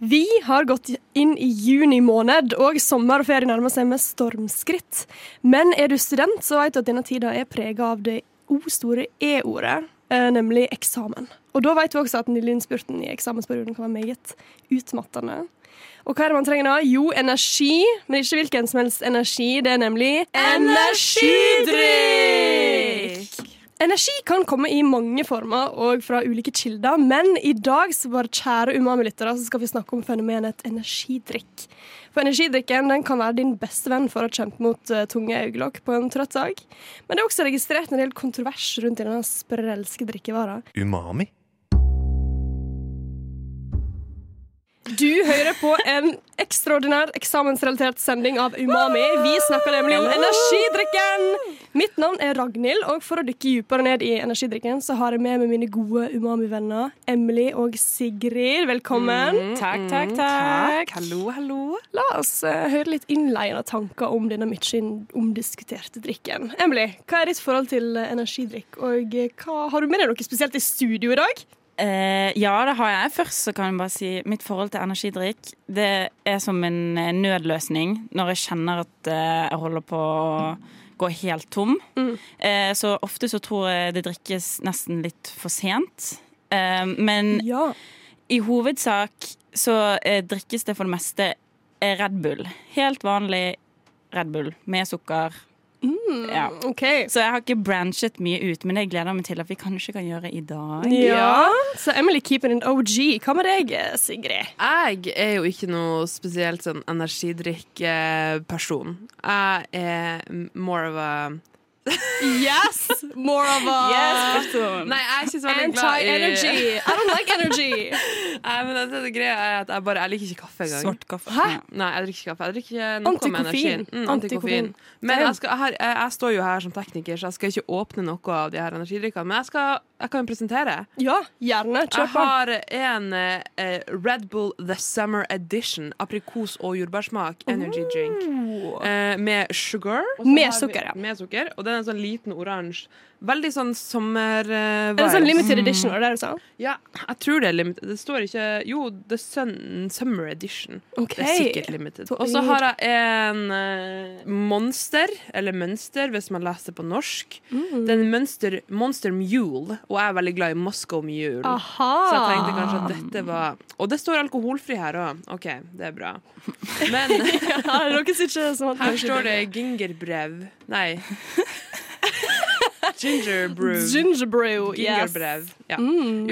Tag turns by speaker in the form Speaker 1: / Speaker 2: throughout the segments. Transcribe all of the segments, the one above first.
Speaker 1: Vi har gått inn i juni måned, og sommerferie nærmer seg med stormskritt. Men er du student, så vet du at denne tida er prega av det o-store e-ordet, eh, nemlig eksamen. Og da vet vi også at den lille innspurten i eksamensperioden kan være meget utmattende. Og hva er det man trenger da? Jo, energi. Men ikke hvilken som helst energi. Det er nemlig energidrikk! Energi kan komme i mange former og fra ulike kilder, men i dag så bare kjære umami-lyttere, så skal vi snakke om fenomenet energidrikk. For energidrikken den kan være din beste venn for å kjempe mot eh, tunge øyelokk på en trøtt dag. Men det er også registrert en del kontrovers rundt denne sprelske drikkevara.
Speaker 2: Umami.
Speaker 1: Du hører på en ekstraordinær eksamensrelatert sending av Umami. Vi snakker nemlig om energidrikken! Mitt navn er Ragnhild, og for å dykke dypere ned i energidrikken, så har jeg med meg mine gode Umami-venner Emily og Sigrid. Velkommen.
Speaker 3: Takk, takk, takk. Hallo, hallo.
Speaker 1: La oss eh, høre litt innleiende tanker om denne mye omdiskuterte drikken. Emily, hva er ditt forhold til eh, energidrikk, og eh, hva har du med deg noe spesielt i studio i dag?
Speaker 3: Eh, ja, det har jeg. Først så kan jeg bare si mitt forhold til energidrikk. Det er som en eh, nødløsning når jeg kjenner at eh, jeg holder på å gå helt tom. Eh, så ofte så tror jeg det drikkes nesten litt for sent. Eh, men
Speaker 1: Ja.
Speaker 3: i hovedsak så eh, drikkes det for det meste eh, Red Bull. Helt vanlig Red Bull med sukker. Ja.
Speaker 1: OK.
Speaker 3: Så jeg har ikke branchet mye ut, men det gleder jeg meg til at vi kanskje kan gjøre i dag.
Speaker 1: Ja, så Emily keeping an OG. Hva med deg, eh, Sigrid?
Speaker 4: Jeg er jo ikke noe spesielt sånn energidrikk-person. Jeg er m- more of a
Speaker 1: Yes! More of a
Speaker 3: Ah.
Speaker 4: Nei, jeg er ikke så veldig glad i
Speaker 1: anti-energy. I don't like energy.
Speaker 4: Nei, men det, det greia er at jeg bare Jeg liker ikke kaffe engang.
Speaker 3: Svart kaffe.
Speaker 4: Nei, jeg drikker ikke kaffe. Jeg drikker noe med
Speaker 1: Antikoffein.
Speaker 4: energien. Mm,
Speaker 1: Antikoffein.
Speaker 4: antikoffein. Men jeg, skal, her, jeg, jeg står jo her som tekniker, så jeg skal ikke åpne noe av de her energidrikkene. Men jeg, skal, jeg kan jo presentere.
Speaker 1: Ja, gjerne. Kjør
Speaker 4: Jeg
Speaker 1: på.
Speaker 4: har en eh, Red Bull The Summer Edition aprikos- og jordbærsmak energy drink eh, med sugar.
Speaker 1: Med har vi- sukker, ja.
Speaker 4: Med sukker, og den er sånn liten oransje. Veldig sånn sommer... eh,
Speaker 1: Er det sånn
Speaker 4: vibes.
Speaker 1: limited edition? Var det det du sa?
Speaker 4: Ja, jeg tror det er limited. Det står ikke Jo, The sun, Summer Edition.
Speaker 1: Ok.
Speaker 4: Det er sikkert limited.
Speaker 1: Så
Speaker 4: Og så har jeg en eh, Monster, eller Mønster, hvis man leser på norsk.
Speaker 1: Mm.
Speaker 4: Det er en Monster, monster Mule, og jeg er veldig glad i Moscow Mule.
Speaker 1: Aha.
Speaker 4: Så jeg tenkte kanskje
Speaker 1: Ah.
Speaker 4: at dette var Og det står alkoholfri her òg. OK, det er bra.
Speaker 1: ja,
Speaker 4: Men
Speaker 1: det er sånn noen som ikke som har
Speaker 4: her står det gingerbrev. Nei. Gingerbrew.
Speaker 1: Gingerbrew. Yes. Mm.
Speaker 4: Gingerbrev. Ja.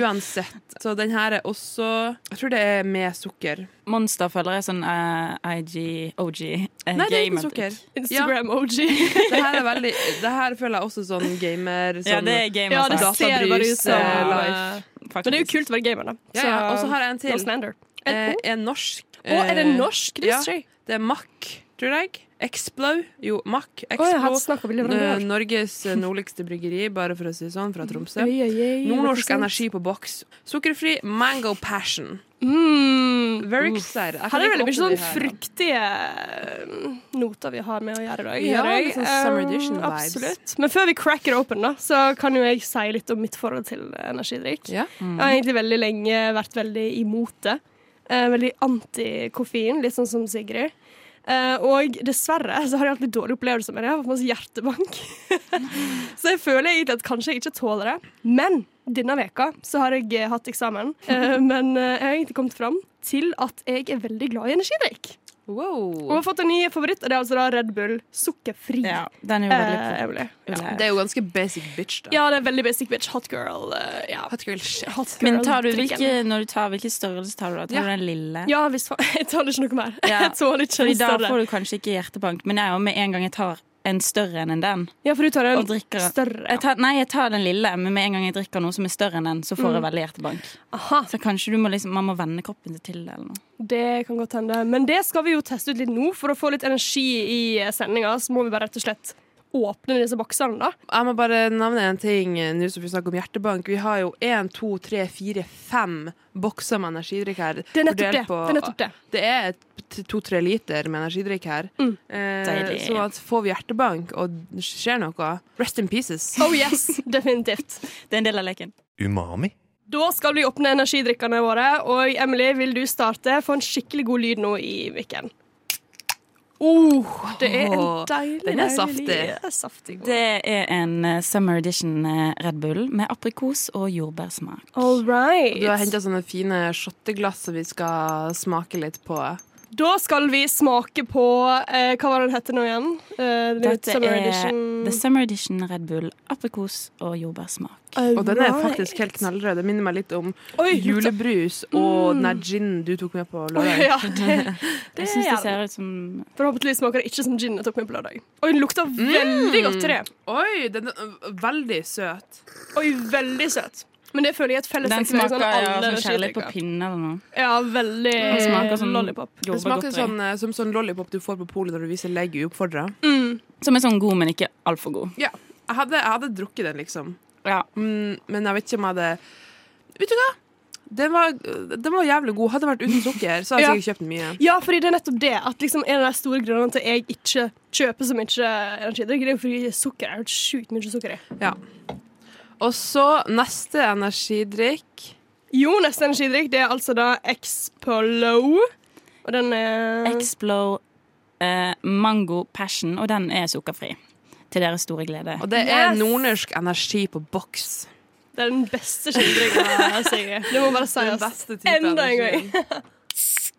Speaker 4: Uansett. Så den her er også Jeg tror det er med sukker.
Speaker 3: Monster føler jeg sånn eh, IG, OG eh,
Speaker 4: Nei, det er ikke
Speaker 3: gamer.
Speaker 4: med sukker. Ja,
Speaker 1: Instagram OG.
Speaker 4: det her er veldig Det her føler jeg også sånn gamer sånn,
Speaker 3: Ja, det er gamer.
Speaker 1: Ja, det
Speaker 3: altså.
Speaker 4: databrus,
Speaker 1: ser bare ut som
Speaker 4: eh,
Speaker 1: eh,
Speaker 3: Faktisk.
Speaker 1: Men det er jo kult å være gamer, da.
Speaker 4: Ja, ja. Og så har jeg en
Speaker 1: No
Speaker 4: til.
Speaker 1: slander.
Speaker 4: Eh, en norsk.
Speaker 1: Å, er det
Speaker 4: eh,
Speaker 1: norsk? Det
Speaker 4: ja.
Speaker 1: visste jeg.
Speaker 4: Det er Mack, tror jeg. Explo. Jo, Mack.
Speaker 1: Å, jeg har
Speaker 4: Explo.
Speaker 1: hatt snakk om
Speaker 4: N-
Speaker 1: leverandør.
Speaker 4: Norges eh, nordligste bryggeri, bare for å si det sånn, fra Tromsø.
Speaker 1: Oi, oi, oi,
Speaker 4: Nordnorsk
Speaker 1: represent.
Speaker 4: energi på boks. Sukkerfri mango passion.
Speaker 1: Mm.
Speaker 4: Very excited. Jeg kan
Speaker 1: Her er det
Speaker 4: ikke
Speaker 1: veldig mye
Speaker 4: åpne
Speaker 1: sånn
Speaker 4: de her.
Speaker 1: fruktige eh, noter vi har med å gjøre i dag.
Speaker 4: Ja,
Speaker 1: hører jeg.
Speaker 4: litt sånn summer edition
Speaker 1: Eh,
Speaker 4: vibes.
Speaker 1: Absolutt. Men før vi cracker open, da, så kan jo jeg si litt om mitt forhold til eh, energidrikk.
Speaker 4: Ja.
Speaker 1: Jeg har egentlig veldig lenge vært veldig imot det. Eh, veldig anti-koffein, litt sånn som Sigrid. Eh, og dessverre så har jeg hatt litt dårlig opplevelse med det. Jeg har fått masse hjertebank. så jeg føler egentlig at kanskje jeg ikke tåler det. Men denne veka så har jeg eh, hatt eksamen. Eh, men eh, jeg har egentlig kommet fram til at jeg er veldig glad i energidrikk. Og
Speaker 4: Wow.
Speaker 1: har fått en ny favoritt, og det er altså da Red Bull sukkerfri.
Speaker 3: Ja, den er jo veldig
Speaker 1: Eh, Emily.
Speaker 3: populær.
Speaker 4: Det er jo ganske basic bitch, da.
Speaker 1: Ja, det er veldig basic bitch. Hot girl. eh, ja.
Speaker 4: Hot girl shit.
Speaker 1: Hot girl
Speaker 3: Men tar du
Speaker 1: drikken.
Speaker 3: hvilke, når du tar, hvilken størrelse tar du da? Tar
Speaker 4: Ja.
Speaker 3: du den lille?
Speaker 1: Ja, hvis fa- Jeg tåler ikke noe mer.
Speaker 3: Ja.
Speaker 1: Jeg tåler ikke
Speaker 3: Fordi
Speaker 1: en
Speaker 3: da
Speaker 1: større.
Speaker 3: får du kanskje ikke hjertebank, men jeg er jo med en gang jeg tar en større enn en den.
Speaker 1: Ja, for du tar en
Speaker 3: Og drikker den.
Speaker 1: større.
Speaker 3: Jeg tar, nei, jeg tar den lille, men med en gang jeg drikker noe som er større enn den, så får jeg veldig hjertebank.
Speaker 1: Aha,
Speaker 3: Så kanskje du må liksom, man må venne kroppen sin til det eller noe.
Speaker 1: det kan godt hende. Men det skal vi jo teste ut litt nå. For å få litt energi i eh, sendinga, så må vi bare rett og slett åpne disse boksene, da.
Speaker 4: Jeg må bare nevne en ting eh, nå som vi snakker om hjertebank. Vi har jo én, to, tre, fire, fem bokser med energidrikk her.
Speaker 1: Det er nettopp det.
Speaker 4: fordelt på-
Speaker 1: det, er nettopp det.
Speaker 4: Det er to-tre liter med energidrikk her.
Speaker 1: Mm.
Speaker 4: Eh,
Speaker 3: Deilig.
Speaker 4: så at får vi hjertebank, og det skjer noe Rest in pieces.
Speaker 1: Oh yes, definitivt.
Speaker 3: Det er en del av leken.
Speaker 2: Umami?
Speaker 1: Da skal vi åpne energidrikkene våre, og Emily, vil du starte? Få en skikkelig god lyd nå i mikken. Oh, det er en
Speaker 4: Åh,
Speaker 1: deilig
Speaker 4: den er
Speaker 1: deilig
Speaker 4: saftig.
Speaker 1: lyd. Det er saftig.
Speaker 3: Det er en eh, summer edition eh, Red Bull med aprikos og jordbærsmak.
Speaker 1: All right.
Speaker 4: Du har henta sånne fine shotteglass som vi skal smake litt på.
Speaker 1: Da skal vi smake på eh, Hva var den hette nå igjen? Eh, den
Speaker 3: Dette
Speaker 1: Summer
Speaker 3: er
Speaker 1: Edition.
Speaker 3: The Summer Edition Red Bull, aprikos og jordbærsmak.
Speaker 4: Og den er
Speaker 1: Alright.
Speaker 4: faktisk helt knallrød. Det minner meg litt om
Speaker 1: Oi, lukter-
Speaker 4: julebrus og den der ginen du tok med på lørdag.
Speaker 1: ja, det, det er
Speaker 3: Jeg syns det
Speaker 1: jævlig.
Speaker 3: ser ut som
Speaker 1: Forhåpentligvis smaker det ikke som gin jeg tok med på lørdag. Oi, den lukter veldig
Speaker 3: Mm.
Speaker 1: godt til det.
Speaker 4: Oi, den er øh, veldig søt.
Speaker 1: Oi, veldig søt. Men det føler jeg er et fellestrekk
Speaker 3: Den
Speaker 1: med
Speaker 3: smaker
Speaker 1: sånn
Speaker 3: ja,
Speaker 1: alle
Speaker 3: sånn kjærlighet på
Speaker 1: energidrikker.
Speaker 3: pinne eller noe.
Speaker 1: Ja, veldig
Speaker 3: Den smaker sånn
Speaker 1: lollipop.
Speaker 4: Den smaker
Speaker 3: jordbærgodteri.
Speaker 4: sånn, eh, som sånn lollipop du får på polet når du viser legg uoppfordra.
Speaker 3: Som er sånn god, men ikke altfor god.
Speaker 4: Ja, jeg hadde, jeg hadde drukket den, liksom.
Speaker 3: Ja.
Speaker 4: Mm, men jeg vet ikke om jeg hadde Vet du hva? Den var, den var jævlig god. Hadde jeg vært uten sukker, så hadde jeg sikkert kjøpt den mye.
Speaker 1: Ja, fordi det er nettopp det. At liksom en av de store grunnene til at jeg ikke kjøper så mye energidrikk, det er jo fordi sukker er jo sjukt mye sukker i.
Speaker 4: Ja. Og så neste energidrikk.
Speaker 1: Jo, neste energidrikk det er altså da Expolo. Og den er
Speaker 3: Explo eh, mango passion, og den er sukkerfri. Til deres store glede.
Speaker 4: Og det er
Speaker 1: Yes!
Speaker 4: nordnorsk energi på boks.
Speaker 1: det er den beste skildringa jeg ser. Det må bare
Speaker 4: Den
Speaker 1: sies.
Speaker 4: beste type
Speaker 1: Enda en gang.
Speaker 4: energi.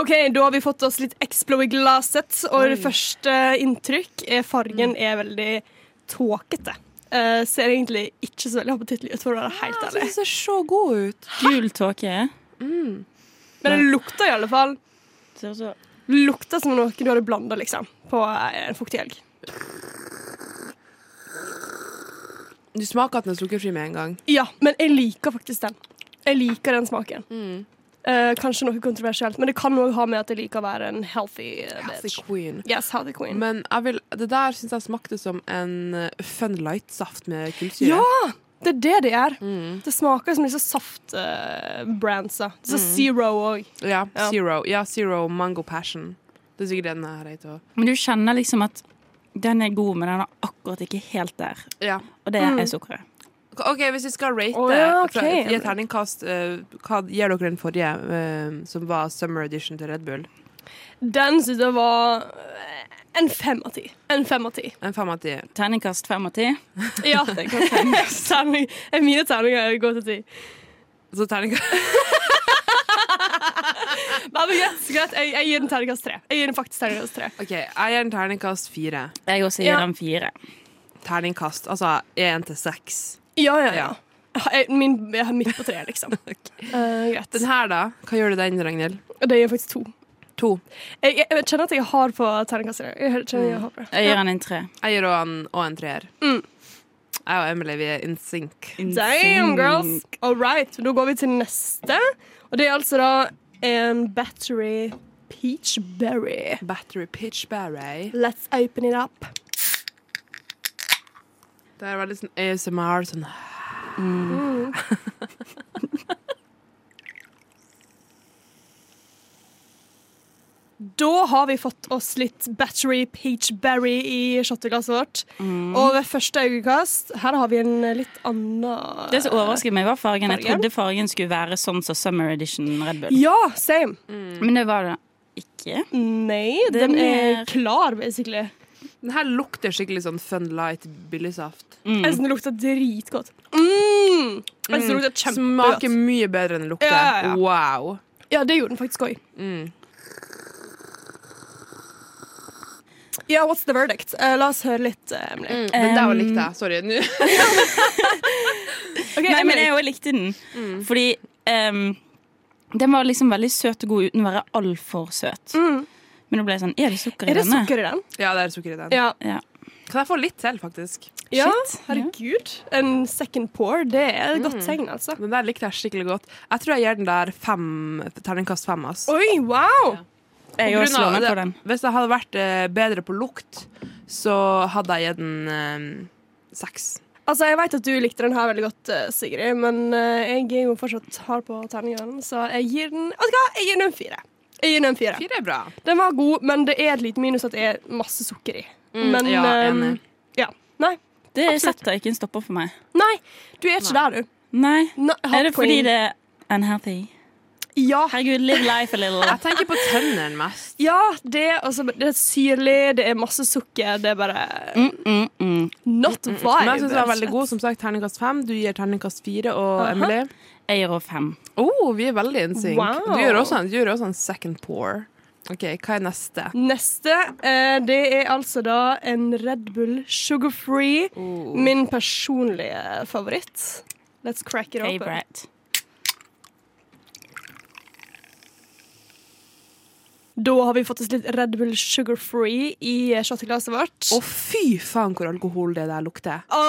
Speaker 1: OK, da har vi fått oss litt Explo i glasset, og det første inntrykk er fargen
Speaker 4: Mm.
Speaker 1: er veldig tåkete. Eh, ser egentlig ikke så veldig appetittlig ut, for å være helt
Speaker 4: Jeg
Speaker 1: ærlig.
Speaker 4: synes den ser så god ut.
Speaker 3: Gul tåke.
Speaker 1: Men det lukter i alle fall
Speaker 3: Ser ut som-
Speaker 1: Lukter som noe du hadde blanda liksom, på en fuktig helg.
Speaker 4: Du smaker at den er sukkerfri med en gang.
Speaker 1: Ja, men jeg liker faktisk den. Jeg liker den smaken. Eh, kanskje noe kontroversielt, men det kan òg ha med at jeg liker å være en healthy eh, bitch.
Speaker 4: Classic queen.
Speaker 1: Yes, healthy queen.
Speaker 4: Men jeg vil, det der syns jeg smakte som en eh, Fun Light-saft med kullsyre.
Speaker 1: ja! Det er det det er. Det smaker som disse saftbrandsa. Uh, så Zero òg.
Speaker 4: Ja,
Speaker 1: Ja.
Speaker 4: Zero. Ja, Zero Mango Passion. Det er sikkert den her heter også.
Speaker 3: Men du kjenner liksom at den er god, men den er akkurat ikke helt der.
Speaker 4: Ja.
Speaker 3: Og det
Speaker 1: Mm.
Speaker 3: er sukkeret.
Speaker 4: OK, hvis vi skal rate
Speaker 1: Å, ja, ok.
Speaker 4: fra- i et terningkast, eh, hva gir dere den forrige, eh, som var Summer Edition til Red Bull?
Speaker 1: Den syns jeg var eh, en fem av ti. En fem av ti.
Speaker 4: En fem av ti.
Speaker 3: Terningkast fem av ti.
Speaker 1: Ja. Terning- eh, Mine terninger går til ti.
Speaker 4: Så terningkast
Speaker 1: Nei, men yes, greit. Jeg, jeg gir den terningkast tre. Jeg gir den faktisk terningkast tre.
Speaker 4: OK, jeg gir den terningkast fire.
Speaker 3: Jeg også gir
Speaker 1: Ja.
Speaker 3: den fire.
Speaker 4: Terningkast, altså én til seks.
Speaker 1: Ja, ja, ja.
Speaker 4: Ja.
Speaker 1: Jeg, min, jeg har midt på treet, liksom. Eh, greit.
Speaker 4: Den her, da? Hva gjør du den, Ragnhild?
Speaker 1: Det gir faktisk to.
Speaker 4: To.
Speaker 1: Jeg, jeg, jeg kjenner at jeg har på terningkast tre. Jeg kjenner jeg har på det.
Speaker 3: Jeg gir den en tre.
Speaker 4: Jeg gir også en, og en treer. Jeg og Emily, vi er Mm. in sync.
Speaker 1: Damn, girls! All right, da går vi til neste. Og det er altså da en battery peach berry.
Speaker 4: Battery pitch barray.
Speaker 1: Let's open it up.
Speaker 4: Det er veldig sånn ASMR, sånn
Speaker 1: Da har vi fått oss litt battery peach berry i shotteglasset vårt.
Speaker 3: Mm.
Speaker 1: Og ved første øyekast, her har vi en litt annen
Speaker 3: Det som overrasket meg, var fargen. Jeg
Speaker 1: Fargen?
Speaker 3: trodde fargen skulle være sånn som Summer Edition Red Bull.
Speaker 1: Ja, same.
Speaker 3: Men det var det ikke.
Speaker 1: Nei,
Speaker 3: Den
Speaker 1: den, er
Speaker 3: er-
Speaker 1: klar, basically.
Speaker 4: Den her lukter skikkelig sånn Fun Light billigsaft.
Speaker 3: Mm.
Speaker 1: Jeg
Speaker 3: Altså,
Speaker 1: synes den lukter dritgodt. Mm. Jeg synes den lukter
Speaker 4: Smaker
Speaker 1: kjempegodt.
Speaker 4: mye bedre enn det lukter.
Speaker 1: Ja, ja, ja.
Speaker 4: Wow. Mm.
Speaker 1: Ja, det gjorde den faktisk òg. Ja, what's the verdict? Eh, la oss høre litt, eh, Emily.
Speaker 4: Den der var likte jeg. Sorry. Nå.
Speaker 1: Ok,
Speaker 3: Nei, men
Speaker 1: Emily.
Speaker 3: jeg Mm. også likte den. Fordi ehm, den var liksom veldig søt og god uten å være altfor søt. Men nå ble jeg sånn Er det sukker i
Speaker 1: Er det
Speaker 3: denne?
Speaker 1: sukker i den?
Speaker 4: Ja, det er sukker i den.
Speaker 1: Ja.
Speaker 3: Ja.
Speaker 4: Kan jeg få litt til, faktisk?
Speaker 1: ja.
Speaker 3: Shit.
Speaker 1: Herregud. En second pour, det er et godt tegn, altså.
Speaker 4: Den der likte jeg skikkelig godt. Jeg tror jeg gir den der fem, terningkast fem. ass.
Speaker 1: Oi, wow!
Speaker 3: Jeg
Speaker 4: På
Speaker 3: også
Speaker 4: grunn
Speaker 3: slår
Speaker 4: av
Speaker 3: meg
Speaker 4: det-
Speaker 3: på den.
Speaker 4: Hvis jeg hadde vært eh, bedre på lukt, så hadde jeg gitt den eh, seks.
Speaker 1: Altså, Jeg vet at du likte den her veldig godt, eh, Sigrid, men eh, jeg er jo fortsatt hard på terningene, så jeg gir den Vet du hva, jeg gir den en fire. Jeg gir den en fire.
Speaker 4: Fire er bra.
Speaker 1: Den var god, men det er et lite minus at det er masse sukker i. men
Speaker 4: Mm, ja,
Speaker 1: eh,
Speaker 4: enig.
Speaker 1: ja. Nei.
Speaker 3: Det setter ikke en stopper for meg.
Speaker 1: Nei, du er ikke der, du.
Speaker 3: Nei.
Speaker 1: Nei,
Speaker 3: Er det
Speaker 1: hard
Speaker 3: fordi
Speaker 1: point.
Speaker 3: det er unhealthy?
Speaker 1: Ja.
Speaker 3: Herregud, live life a little.
Speaker 4: Jeg tenker på tennene mest.
Speaker 1: ja det, altså, det er syrlig, det er masse sukker, det er bare
Speaker 3: Mm, mm, mm.
Speaker 1: Not
Speaker 4: Men
Speaker 1: vibe.
Speaker 4: jeg syns den var veldig god. Som sagt, terningkast fem. Du gir terningkast fire. Og
Speaker 1: Aha.
Speaker 4: Emily?
Speaker 3: Jeg gir også fem.
Speaker 4: Oh, vi er veldig in sync.
Speaker 1: Wow.
Speaker 4: Du, gjør også en, du gjør også en second pour. OK, hva er neste?
Speaker 1: Neste, eh, det er altså da en Red Bull Sugar Free. Min personlige favoritt. Let's crack it open.
Speaker 3: Favorite.
Speaker 1: Da har vi fått oss litt Red Bull Sugar Free i shotteglasset vårt.
Speaker 4: Å, fy faen, hvor alkohol det der lukter.
Speaker 1: Å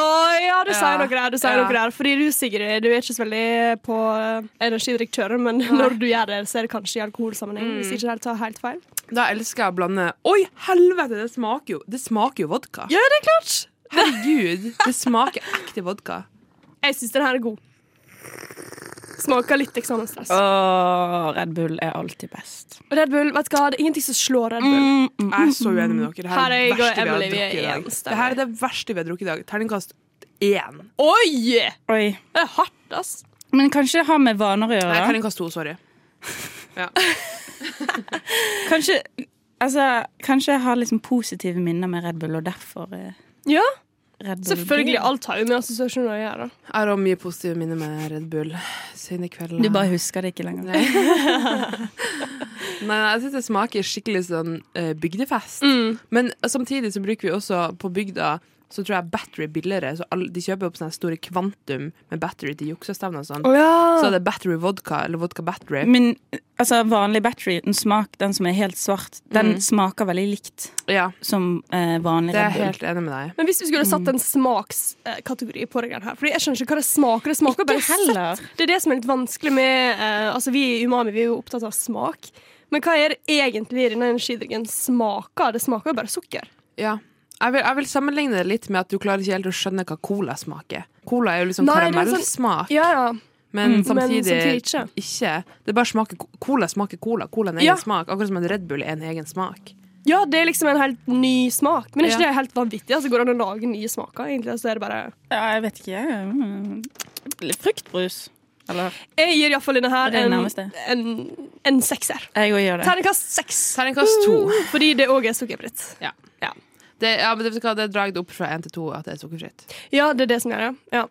Speaker 1: ja, du sier
Speaker 4: Ja,
Speaker 1: noe der. du sier
Speaker 4: ja.
Speaker 1: noe der Fordi du, Sigrid, du er ikke så veldig på energidrikkjøret, men når du gjør det, så er det kanskje i alkoholsammenheng. Hvis ikke det her tar helt feil.
Speaker 4: Da elsker jeg å blande Oi, helvete, det smaker jo, det smaker jo vodka.
Speaker 1: Ja, det er klart!
Speaker 4: Herregud, det smaker ekte vodka.
Speaker 1: Jeg syns den her er god. Smaker litt eksamensstress.
Speaker 3: Åh, Red Bull er alltid best.
Speaker 1: Red Bull, vet du hva, det er ingenting som slår Red Bull.
Speaker 3: Mm, mm.
Speaker 4: Jeg er så uenig med dere. Det
Speaker 1: Her
Speaker 4: her
Speaker 1: er
Speaker 4: er
Speaker 1: jeg
Speaker 4: det
Speaker 1: og
Speaker 4: verste vi
Speaker 1: Emily, vi er
Speaker 4: har drukket i
Speaker 1: enstemmige.
Speaker 4: dag. Det her er det verste vi har drukket i dag. Terningkast én.
Speaker 1: Oi!
Speaker 3: Oi.
Speaker 1: Det er hardt, ass.
Speaker 3: Men kanskje det har med vaner å
Speaker 4: Nei,
Speaker 3: gjøre? da?
Speaker 4: terningkast to, sorry.
Speaker 3: Kanskje, altså, kanskje jeg har liksom positive minner med Red Bull, og derfor eh,
Speaker 1: Ja,
Speaker 3: Red Bull
Speaker 1: selvfølgelig. Alt har jo med assosiasjoner å gjøre.
Speaker 4: Jeg har også mye positive minner med Red Bull siden i kveld.
Speaker 3: Du bare husker det ikke lenger.
Speaker 4: Nei. Nei, jeg synes det smaker skikkelig sånn eh, bygdefest.
Speaker 1: Mm.
Speaker 4: Men eh, samtidig så bruker vi også på bygda så tror jeg battery er billigere. Så alle, de kjøper opp sånne store kvantum med battery til juksestevner og sånn.
Speaker 1: Å ja. Mm.
Speaker 4: Så er det battery vodka eller vodka battery.
Speaker 3: Men altså, vanlig battery, den, smak, den som er helt svart, den
Speaker 4: Mm.
Speaker 3: smaker veldig likt
Speaker 4: Ja,
Speaker 3: som eh, vanlig
Speaker 4: det er
Speaker 3: Red
Speaker 4: jeg
Speaker 3: Bull.
Speaker 4: helt enig med deg i.
Speaker 1: Men hvis vi skulle satt en smakskategori på det greiene her Fordi jeg skjønner ikke hva det smaker. Det smaker bare søtt. Det er det som er litt vanskelig med eh, Altså, vi i Umami vi er jo opptatt av smak. Men hva er det egentlig denne energidrikken smaker? Det smaker jo bare sukker.
Speaker 4: Ja. Jeg vil, jeg vil sammenligne det litt med at du klarer ikke helt å skjønne hva cola smaker. Cola er jo liksom
Speaker 1: Nei, det er en sånn-
Speaker 4: karamellsmak,
Speaker 1: Ja, ja.
Speaker 4: men,
Speaker 1: Men
Speaker 4: samtidig
Speaker 1: samtidig
Speaker 4: ikke.
Speaker 1: ikke.
Speaker 4: Det bare smaker Cola smaker cola. Cola er en
Speaker 1: Ja.
Speaker 4: egen smak. Akkurat som en Red Bull er en egen smak.
Speaker 1: Ja, det er liksom en helt ny smak. Men er ikke
Speaker 4: Ja.
Speaker 1: det helt vanvittig? Altså, går det an å lage nye smaker? Egentlig Altså, så er det bare
Speaker 3: Ja, jeg vet ikke. jeg. Mm, Fruktbrus. Eller
Speaker 1: Jeg gir iallfall denne her
Speaker 3: Det er
Speaker 1: en,
Speaker 3: nærmeste.
Speaker 1: en, en sekser.
Speaker 3: Jeg òg gjør det.
Speaker 1: Terningkast seks.
Speaker 4: Terningkast to.
Speaker 1: Fordi det òg er sukkerfritt.
Speaker 4: Det, ja, men det, vet du hva, det er dratt opp fra én til to at det er sukkerfritt.
Speaker 1: Ja, det er det som gjør det. Ja.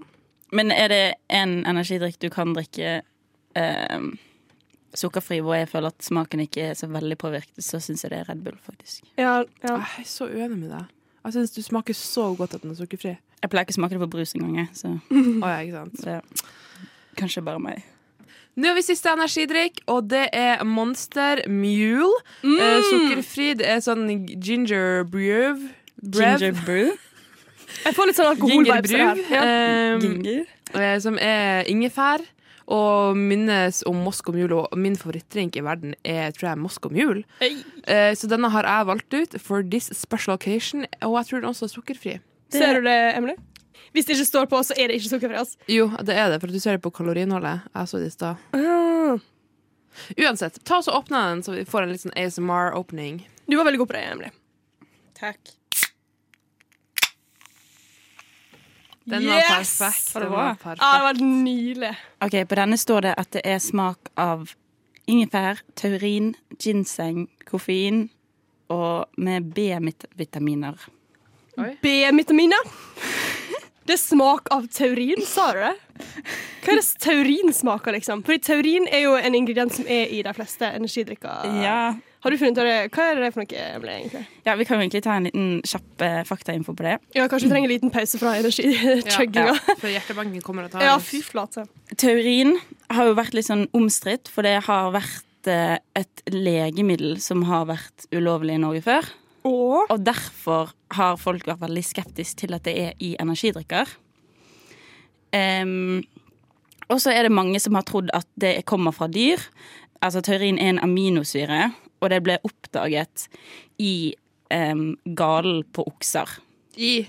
Speaker 3: Men er det en energidrikk du kan drikke eh, sukkerfri hvor jeg føler at smaken ikke er så veldig påvirket, så syns jeg det er Red Bull, faktisk.
Speaker 1: Ja, ja.
Speaker 3: Ah.
Speaker 4: Jeg er så uenig med deg. Jeg syns du smaker så godt at den er sukkerfri.
Speaker 3: Jeg pleier ikke å smake det på brus engang, jeg, så
Speaker 4: Å, ja, ikke sant?
Speaker 3: det er kanskje bare meg.
Speaker 4: Nå har vi siste energidrikk, og det er Monster Mule. Eh, sukkerfri. Det er sånn ginger brew.
Speaker 3: Ginger brew.
Speaker 1: Jeg får litt sånn alkoholvibes. av det
Speaker 4: Gingerbrew,
Speaker 1: her. Ja.
Speaker 3: Um, Ginger.
Speaker 4: eh, som er ingefær. Og minnes om Moskva Mule, og min favorittdrink i verden er tror jeg, Moskva Mule.
Speaker 1: Ei.
Speaker 4: Eh, så denne har jeg valgt ut for this special occasion, og jeg tror den også er sukkerfri.
Speaker 1: Ser du det, Emily? Hvis det ikke står på, så er det ikke sukkerfri. Altså.
Speaker 4: Jo, det er det, for du ser det på kaloriinnholdet. Jeg så det i stad.
Speaker 3: Ah.
Speaker 4: Uansett, ta oss og åpne den, så vi får en litt sånn ASMR-åpning.
Speaker 1: Du var veldig god på det, Emily.
Speaker 3: Takk.
Speaker 4: Den var
Speaker 1: Yes!
Speaker 4: perfekt.
Speaker 3: Var det
Speaker 4: Den
Speaker 3: bra?
Speaker 1: Ja, Ah,
Speaker 4: var
Speaker 1: det
Speaker 4: perfekt.
Speaker 1: var nydelig.
Speaker 3: Ok, På denne står det at det er smak av ingefær, taurin, ginseng, koffein og med B-vitaminer.
Speaker 1: B-vitaminer. Det er smak av taurin, sa du det? Hva er det taurin smaker, liksom? Fordi taurin er jo en ingrediens som er i de fleste energidrikker.
Speaker 3: Ja.
Speaker 1: Har du funnet ut av det? Hva er det for noe, Emily, egentlig?
Speaker 3: ja, vi kan jo egentlig ta en liten kjapp eh, faktainfo på det.
Speaker 1: Ja, kanskje vi trenger en liten pause fra energichugginga.
Speaker 4: Ja,
Speaker 1: Ja,
Speaker 4: for hjertebanken kommer og tar
Speaker 1: ja.
Speaker 4: oss.
Speaker 1: fy flate.
Speaker 3: Taurin har jo vært litt sånn omstridt, for det har vært et, eh, et legemiddel som har vært ulovlig i Norge før.
Speaker 1: Og
Speaker 3: Og derfor har folk vært veldig skeptiske til at det er i energidrikker. Ehm, og så er det mange som har trodd at det kommer fra dyr. Altså taurin er en aminosyre, og det ble oppdaget i um, galen på okser.
Speaker 4: I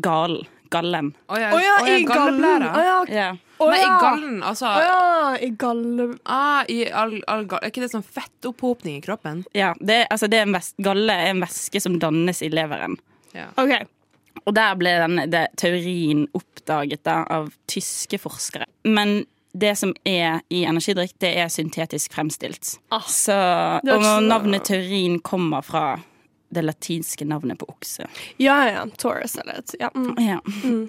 Speaker 3: Galen. Gallen.
Speaker 4: Å ja,
Speaker 1: Å ja,
Speaker 4: å ja,
Speaker 1: i gallen!
Speaker 4: galleplæra.
Speaker 1: Å ja,
Speaker 3: Ja.
Speaker 1: å
Speaker 4: Nei, i
Speaker 1: ja.
Speaker 4: gallen, altså.
Speaker 1: Å ja, i galle...
Speaker 4: Ah, i all, all, gal- er ikke det sånn fettopphopning i kroppen?
Speaker 3: ja det, altså det er en ves galle er en væske som dannes i leveren.
Speaker 1: OK.
Speaker 3: Og der ble den, det, teorien oppdaget da, av tyske forskere. Men det som er i energidrikk, det er syntetisk fremstilt. Så,
Speaker 1: Ah, Det er
Speaker 3: og
Speaker 1: ikke så-
Speaker 3: navnet teorien kommer fra det latinske navnet på okse.
Speaker 1: Ja, ja, ja. Taurus eller et ja, mm.
Speaker 3: Ja. Um,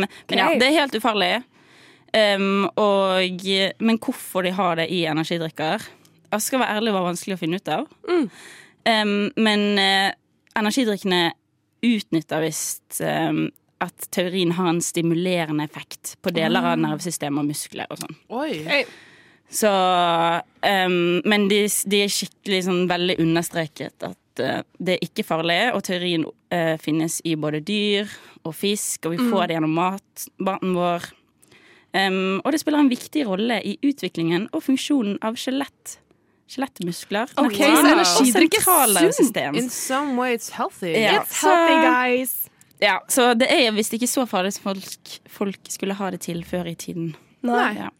Speaker 3: men ja,
Speaker 1: Ok.
Speaker 3: det er helt ufarlig. Um, og, men hvorfor de har det i energidrikker Jeg skal være ærlig, var vanskelig å finne ut av. Um, men eh, energidrikkene utnytter visst um, at teorien har en stimulerende effekt på deler av nervesystemet og muskler og sånn.
Speaker 4: Oi.
Speaker 1: Hey.
Speaker 3: Så um, Men de, de er skikkelig sånn veldig understreket at eh, det er ikke farlig, og teorien eh, finnes i både dyr og fisk, og vi
Speaker 4: Mm.
Speaker 3: får det gjennom mat, maten vår. Um, og det spiller en viktig rolle i utviklingen og funksjonen av skjelett. Skjelettmuskler.
Speaker 1: Ok,
Speaker 3: nerver
Speaker 1: så energidrikk er
Speaker 3: og sentralnervesystem.
Speaker 4: In some way it's healthy.
Speaker 3: Ja.
Speaker 1: It's uh, healthy, guys.
Speaker 3: Ja, så det er visst ikke så farlig som folk, folk skulle ha det til før i tiden.
Speaker 4: Nei.
Speaker 3: Ja.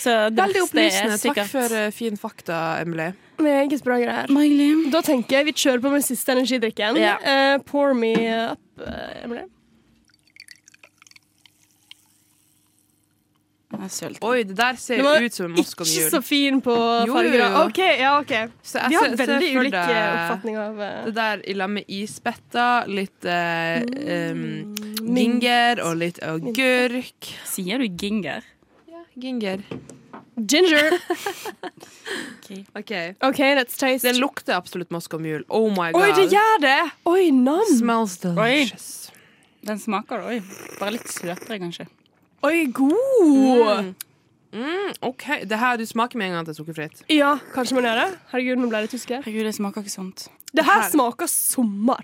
Speaker 3: Så det verste
Speaker 4: Veldig
Speaker 3: er
Speaker 4: opplysende. Takk
Speaker 3: sikkert-
Speaker 4: for eh, fin fakta, Emily.
Speaker 1: Meget bra greier.
Speaker 3: Mailim.
Speaker 1: Da tenker jeg vi kjører på med siste energidrikken.
Speaker 3: Ja.
Speaker 1: Eh, pour me up, eh, Emily.
Speaker 3: Jeg er sulten.
Speaker 4: Oi, det der
Speaker 1: Du
Speaker 4: ser
Speaker 1: var
Speaker 4: ut som en
Speaker 1: ikke
Speaker 4: Moskva-jul.
Speaker 1: så fin på
Speaker 4: Jo, jo,
Speaker 1: farger.
Speaker 4: jo.
Speaker 1: OK, ja, OK.
Speaker 4: Så jeg
Speaker 1: Vi har
Speaker 4: ser- ser
Speaker 1: veldig
Speaker 4: for
Speaker 1: ulike
Speaker 4: deg
Speaker 1: oppfatninger av eh,
Speaker 4: Det der i lag med isbetta, litt eh, em,
Speaker 1: Mm,
Speaker 4: ginger og litt agurk.
Speaker 3: Sier du ginger?
Speaker 4: Ginger.
Speaker 1: ginger.
Speaker 4: OK.
Speaker 1: OK, let's taste.
Speaker 4: Den lukter absolutt Moskva-mul. Oh my god.
Speaker 1: Oi, det gjør det! Oi, nam.
Speaker 4: Smells delicious.
Speaker 3: Den smaker det, oi. Bare litt søtere, kanskje.
Speaker 1: Oi, god!
Speaker 4: Mm, OK. Det her du smaker med en gang at det er sukkerfritt.
Speaker 1: Ja, kanskje man gjør det. Herregud, nå ble jeg litt usikker.
Speaker 3: Herregud, det smaker ikke sånt.
Speaker 1: Det her
Speaker 4: Her.
Speaker 1: smaker sommer.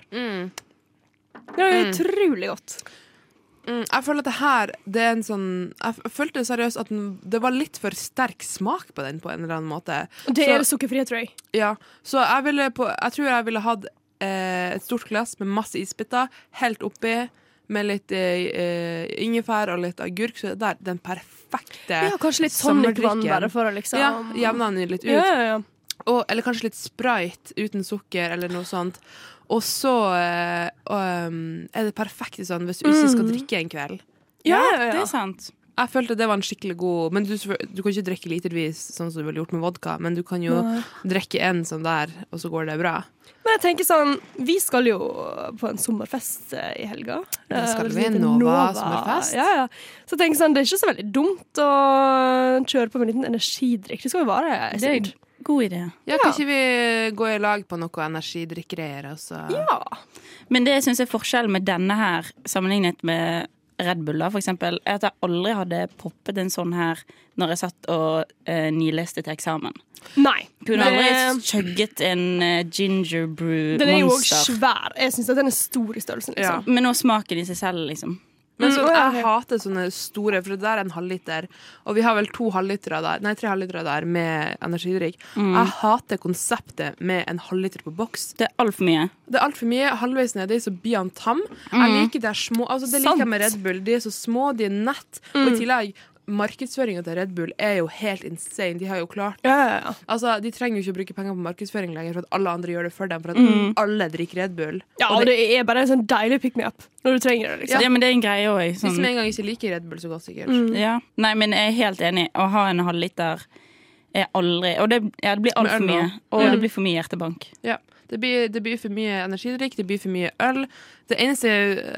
Speaker 1: Det er utrolig godt.
Speaker 4: Mm, jeg føler at det her det er en sånn Jeg f- følte seriøst at den, det var litt for sterk smak på den på en eller annen måte.
Speaker 1: Og det
Speaker 4: Så-
Speaker 1: er det sukkerfrie, tror jeg.
Speaker 4: Ja, så jeg, ville på, jeg tror jeg ville hatt eh, et stort glass med masse isbiter, helt oppi, med litt eh, eh, ingefær og litt agurk. Så det er den perfekte
Speaker 1: Ja, kanskje litt
Speaker 4: sommerdrikken.
Speaker 1: tonicvann, bare for å liksom
Speaker 4: Ja, jevna den litt ut.
Speaker 1: Ja, ja, ja.
Speaker 4: Og, eller kanskje litt sprite uten sukker, eller noe sånt. Og så eh, um, er det perfekte sånn hvis du ikke skal
Speaker 1: Mm.
Speaker 4: drikke en kveld.
Speaker 1: Ja, ja, ja.
Speaker 3: Det er sant.
Speaker 4: Jeg følte det var en skikkelig god Men du, du kan ikke drikke litervis, sånn som du ville gjort med vodka, men du kan jo drikke en sånn der, og så går det bra.
Speaker 1: Men jeg tenker sånn, vi skal jo på en sommerfest eh, i helga.
Speaker 4: Det skal
Speaker 1: Eh,
Speaker 4: vi,
Speaker 1: en liten
Speaker 4: Nova sommerfest.
Speaker 1: Ja, ja. Så jeg tenker sånn, det er ikke så veldig dumt å kjøre på med en liten energidrikk. Det skal jo vare eh, en
Speaker 3: Det er
Speaker 1: stund.
Speaker 3: en god idé.
Speaker 4: Ja, kan ikke vi gå i lag på noe altså? energidrikkgreier? og så-
Speaker 1: Ja.
Speaker 3: Men det synes jeg er forskjellen med denne her, sammenlignet med Red Bull, da, for eksempel, er at jeg aldri hadde poppet en sånn her når jeg satt og eh, nileste til eksamen.
Speaker 1: Nei.
Speaker 3: Kunne aldri
Speaker 1: Det-
Speaker 3: chugget en eh, ginger brew
Speaker 1: eh, den er jo òg
Speaker 3: monster.
Speaker 1: svær. Jeg syns den er stor i størrelsen. Liksom.
Speaker 3: Men nå smaken i seg selv, liksom.
Speaker 4: Men sånn,
Speaker 1: Mm, å, ja,
Speaker 4: jeg hater sånne store, for det der er en halvliter. Og vi har vel to halvlitere der, nei, tre halvlitere der med energidrikk. Jeg hater konseptet med en halvliter på boks.
Speaker 3: Det er altfor mye.
Speaker 4: Det er altfor mye. Halvveis nedi så blir han tam. Jeg
Speaker 3: Mm.
Speaker 4: liker de små. Altså, det liker jeg med Red Bull. De er så små, de er nett.
Speaker 3: Mm.
Speaker 4: Og i tillegg, markedsføringa til Red Bull er jo helt insane. De har jo klart
Speaker 1: Ja, ja, ja.
Speaker 4: Altså, De trenger jo ikke å bruke penger på markedsføring lenger, for at alle andre gjør det for dem. For at
Speaker 3: Mm.
Speaker 4: alle drikker Red Bull.
Speaker 1: ja, og det er bare en sånn deilig pick me up når du trenger det.
Speaker 3: Ja.
Speaker 1: liksom.
Speaker 3: men det Mm. er en greie òg.
Speaker 4: De som
Speaker 3: Sånn,
Speaker 4: en gang ikke liker Red Bull så godt, sikkert.
Speaker 3: ja. Nei, men jeg er helt enig. Å ha en halvliter er aldri Og det, ja, det blir altfor
Speaker 4: øl nå.
Speaker 3: mye. Og det blir for mye hjertebank.
Speaker 4: Ja. Det, blir, det blir for mye energidrikk, det blir for mye øl. Det eneste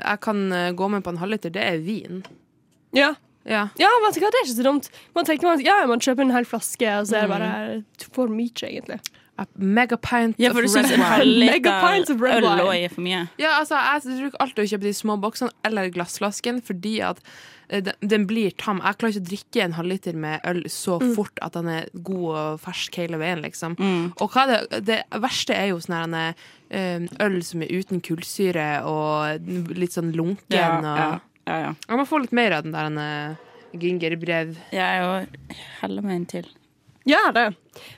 Speaker 4: jeg kan eh, gå med på en halvliter, det er vin.
Speaker 1: Ja.
Speaker 4: Ja.
Speaker 1: Ja, vet du hva, det er ikke så dumt. Man tenker man, ja, man kjøper en hel flaske, og så er det bare for mye, egentlig.
Speaker 4: A megapint
Speaker 3: Ja, for du
Speaker 4: of
Speaker 3: syns
Speaker 4: red
Speaker 3: en halv
Speaker 4: wine.
Speaker 1: Mega pints of
Speaker 3: liter
Speaker 1: red
Speaker 3: øl
Speaker 1: wine.
Speaker 3: også er for mye?
Speaker 4: Ja, altså, jeg bruker alltid å kjøpe de små boksene eller glassflasken, fordi at eh, den, den blir tam. Jeg klarer ikke å drikke en halvliter med øl så
Speaker 1: Mm.
Speaker 4: fort at den er god og fersk hele veien, liksom. Og hva er det, det verste er jo sånn her denne, eh, øl som er uten kullsyre og litt sånn lunken.
Speaker 3: Ja,
Speaker 4: og,
Speaker 3: ja, ja, ja.
Speaker 4: Jeg må få litt mer av den der denne gingerbrev.
Speaker 3: Jeg er jo heller meg en til.
Speaker 1: Gjør det.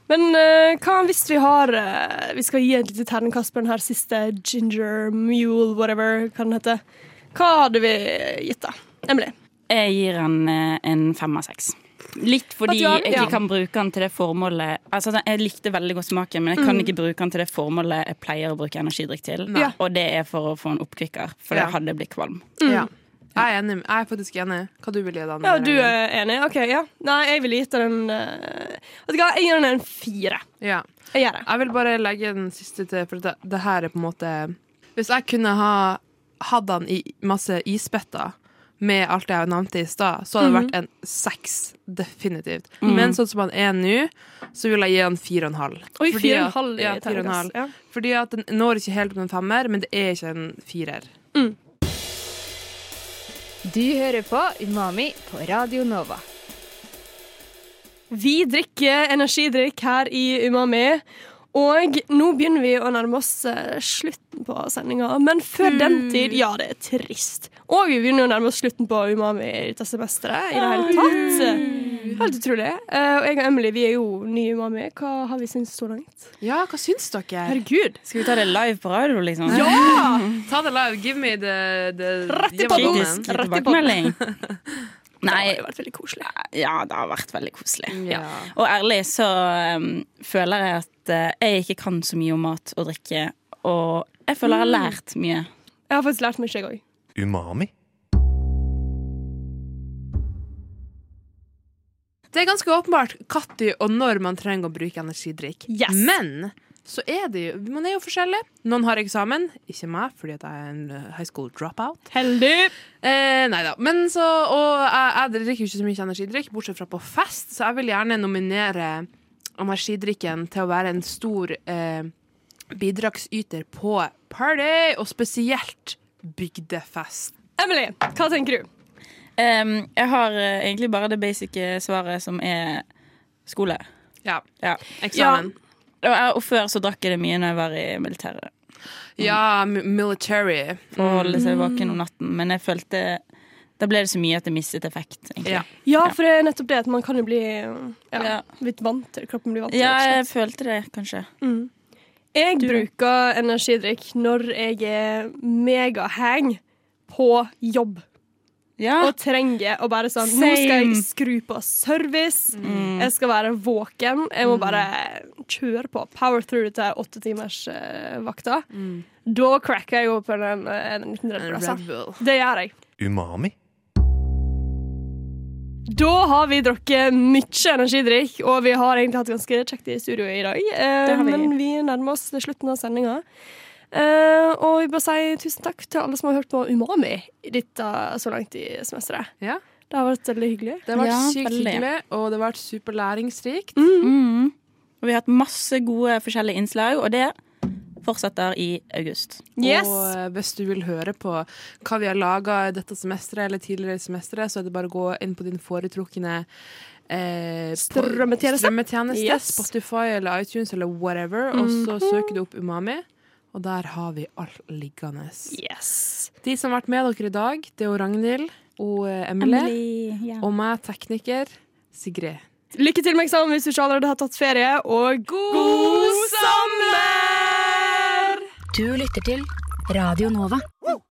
Speaker 1: Men eh, hva hvis vi har eh, Vi skal gi et lite terningkast på den her siste ginger mule, whatever hva den heter. Hva hadde vi gitt, da? Emily?
Speaker 3: Jeg gir han eh, en fem av seks. Litt fordi
Speaker 1: Ja, ja.
Speaker 3: jeg ikke kan bruke han til det formålet Altså, den- Jeg likte veldig godt smaken, men jeg kan ikke bruke han til det formålet jeg pleier å bruke energidrikk til.
Speaker 4: Nei.
Speaker 3: Og det er for å få en oppkvikker, for
Speaker 4: Ja.
Speaker 3: jeg hadde blitt kvalm.
Speaker 4: Ja. Jeg er, enig, jeg er faktisk enig. Hva du vil gi da?
Speaker 1: Mm. Ja, du er enig? OK, ja. Nei, jeg ville gitt den en eh, Vet du hva, jeg gir den en fire.
Speaker 4: Ja.
Speaker 1: Jeg gjør det.
Speaker 4: Jeg vil bare legge den siste til, for det, det her er på en måte Hvis jeg kunne ha hatt den i masse isbøtter med alt jeg nevnte i stad, så hadde det vært en seks, definitivt. Men sånn som han er nå, så vil jeg gi han fire og en halv.
Speaker 1: Oi,
Speaker 4: Fordi
Speaker 1: fire og en
Speaker 4: at-
Speaker 1: halv i
Speaker 4: ja, fire og en halv.
Speaker 1: terningkast. Ja.
Speaker 4: Fordi at den når ikke helt på en femmer, men det er ikke en firer.
Speaker 5: Du hører på Umami på Radio Nova.
Speaker 1: Vi drikker energidrikk her i Umami. Og nå begynner vi å nærme oss eh, slutten på sendinga. Men før den
Speaker 3: Hmm.
Speaker 1: tid, ja, det er trist. Og vi begynner å nærme oss slutten på Umami i dette semesteret. I det
Speaker 3: Ah.
Speaker 1: hele tatt. Helt utrolig. Eh, Og jeg og Emily vi er jo nye i Umami. Hva har vi syntes så langt?
Speaker 4: Ja, hva syns dere?
Speaker 1: Herregud.
Speaker 3: Skal vi ta det live på radio, liksom?
Speaker 4: Ja! Ta det live. Give me the, the
Speaker 1: Rett i
Speaker 4: give me
Speaker 1: padden.
Speaker 3: Kritisk
Speaker 4: den.
Speaker 3: tilbakemelding.
Speaker 1: Det
Speaker 3: Nei,
Speaker 1: har jo vært veldig koselig.
Speaker 3: ja, det har vært veldig koselig.
Speaker 4: Ja.
Speaker 3: Og ærlig så um, føler jeg at eh, jeg ikke kan så mye om mat og drikke, og jeg føler
Speaker 1: Mm.
Speaker 3: jeg har lært mye.
Speaker 1: Jeg har faktisk lært mye, jeg òg.
Speaker 2: Umami.
Speaker 4: Det er ganske åpenbart når og når man trenger å bruke energidrikk.
Speaker 1: Yes.
Speaker 4: Men så er det jo, man er jo forskjellig. Noen har eksamen, ikke meg, fordi at jeg er en eh, high school dropout.
Speaker 1: Heldig.
Speaker 4: Eh, nei da. Men så, og jeg, jeg drikker jo ikke så mye energidrikk, bortsett fra på fest, så jeg vil gjerne nominere energidrikken til å være en stor eh, bidragsyter på party, og spesielt bygdefest.
Speaker 1: Emily, hva tenker du?
Speaker 3: Um, jeg har eh, egentlig bare det basic svaret som er skole.
Speaker 4: Ja.
Speaker 3: Ja.
Speaker 4: Eksamen.
Speaker 3: Og, jeg, og før så drakk jeg det mye når jeg var i militæret.
Speaker 4: Ja, mi- military.
Speaker 3: For å holde
Speaker 1: Mm.
Speaker 3: seg våken om natten. Men jeg følte Da ble det så mye at det mistet effekt. egentlig.
Speaker 4: Ja.
Speaker 1: Ja, for det er nettopp det at man kan jo bli ja,
Speaker 3: Ja.
Speaker 1: litt vant til Kroppen blir vant til
Speaker 3: ja,
Speaker 1: rett og slett.
Speaker 3: jeg følte det kanskje.
Speaker 1: Jeg bruker energidrikk når jeg er megahang på jobb
Speaker 3: Ja.
Speaker 1: og trenger å bare sånn Nå skal jeg
Speaker 3: Same.
Speaker 1: skru på service,
Speaker 3: Mm.
Speaker 1: jeg skal være våken, jeg må bare kjøre på. Power through dette åttetimersvakta. Da cracker jeg opp en, en, en liten Red Bull.
Speaker 4: Red
Speaker 1: altså.
Speaker 4: Bull.
Speaker 1: Det gjør jeg.
Speaker 2: Umami.
Speaker 1: Da har vi drukket mye energidrikk, og vi har egentlig hatt ganske kjekt i studio i dag. Eh,
Speaker 3: Det har vi.
Speaker 1: Men vi nærmer oss til slutten av sendinga. Eh, og vi bare sier tusen takk til alle som har hørt på Umami i dette så langt i semesteret.
Speaker 4: Ja.
Speaker 1: Det har vært veldig hyggelig.
Speaker 4: Det har vært
Speaker 3: Ja,
Speaker 4: sykt
Speaker 3: veldig.
Speaker 4: hyggelig, og det har vært superlæringsrikt.
Speaker 3: Mm. Og vi har hatt masse gode forskjellige innslag, og det fortsetter i august.
Speaker 1: Yes!
Speaker 4: Og eh, hvis du vil høre på hva vi har laga dette semesteret eller tidligere semestere, så er det bare å gå inn på din foretrukne eh, på-
Speaker 1: Strømmetjeneste.
Speaker 4: strømmetjeneste,
Speaker 1: Yes. Mhm.
Speaker 4: Spotify eller iTunes eller whatever, og så søker du opp Umami. Og der har vi alt liggende.
Speaker 1: yes.
Speaker 4: De som har vært med dere i dag, det er jo Ragnhild og eh, Emily. Og meg, tekniker Sigrid.
Speaker 1: Lykke til med eksamen hvis du ikke allerede har tatt ferie, og god sommer!
Speaker 6: Du lytter til Radio Nova.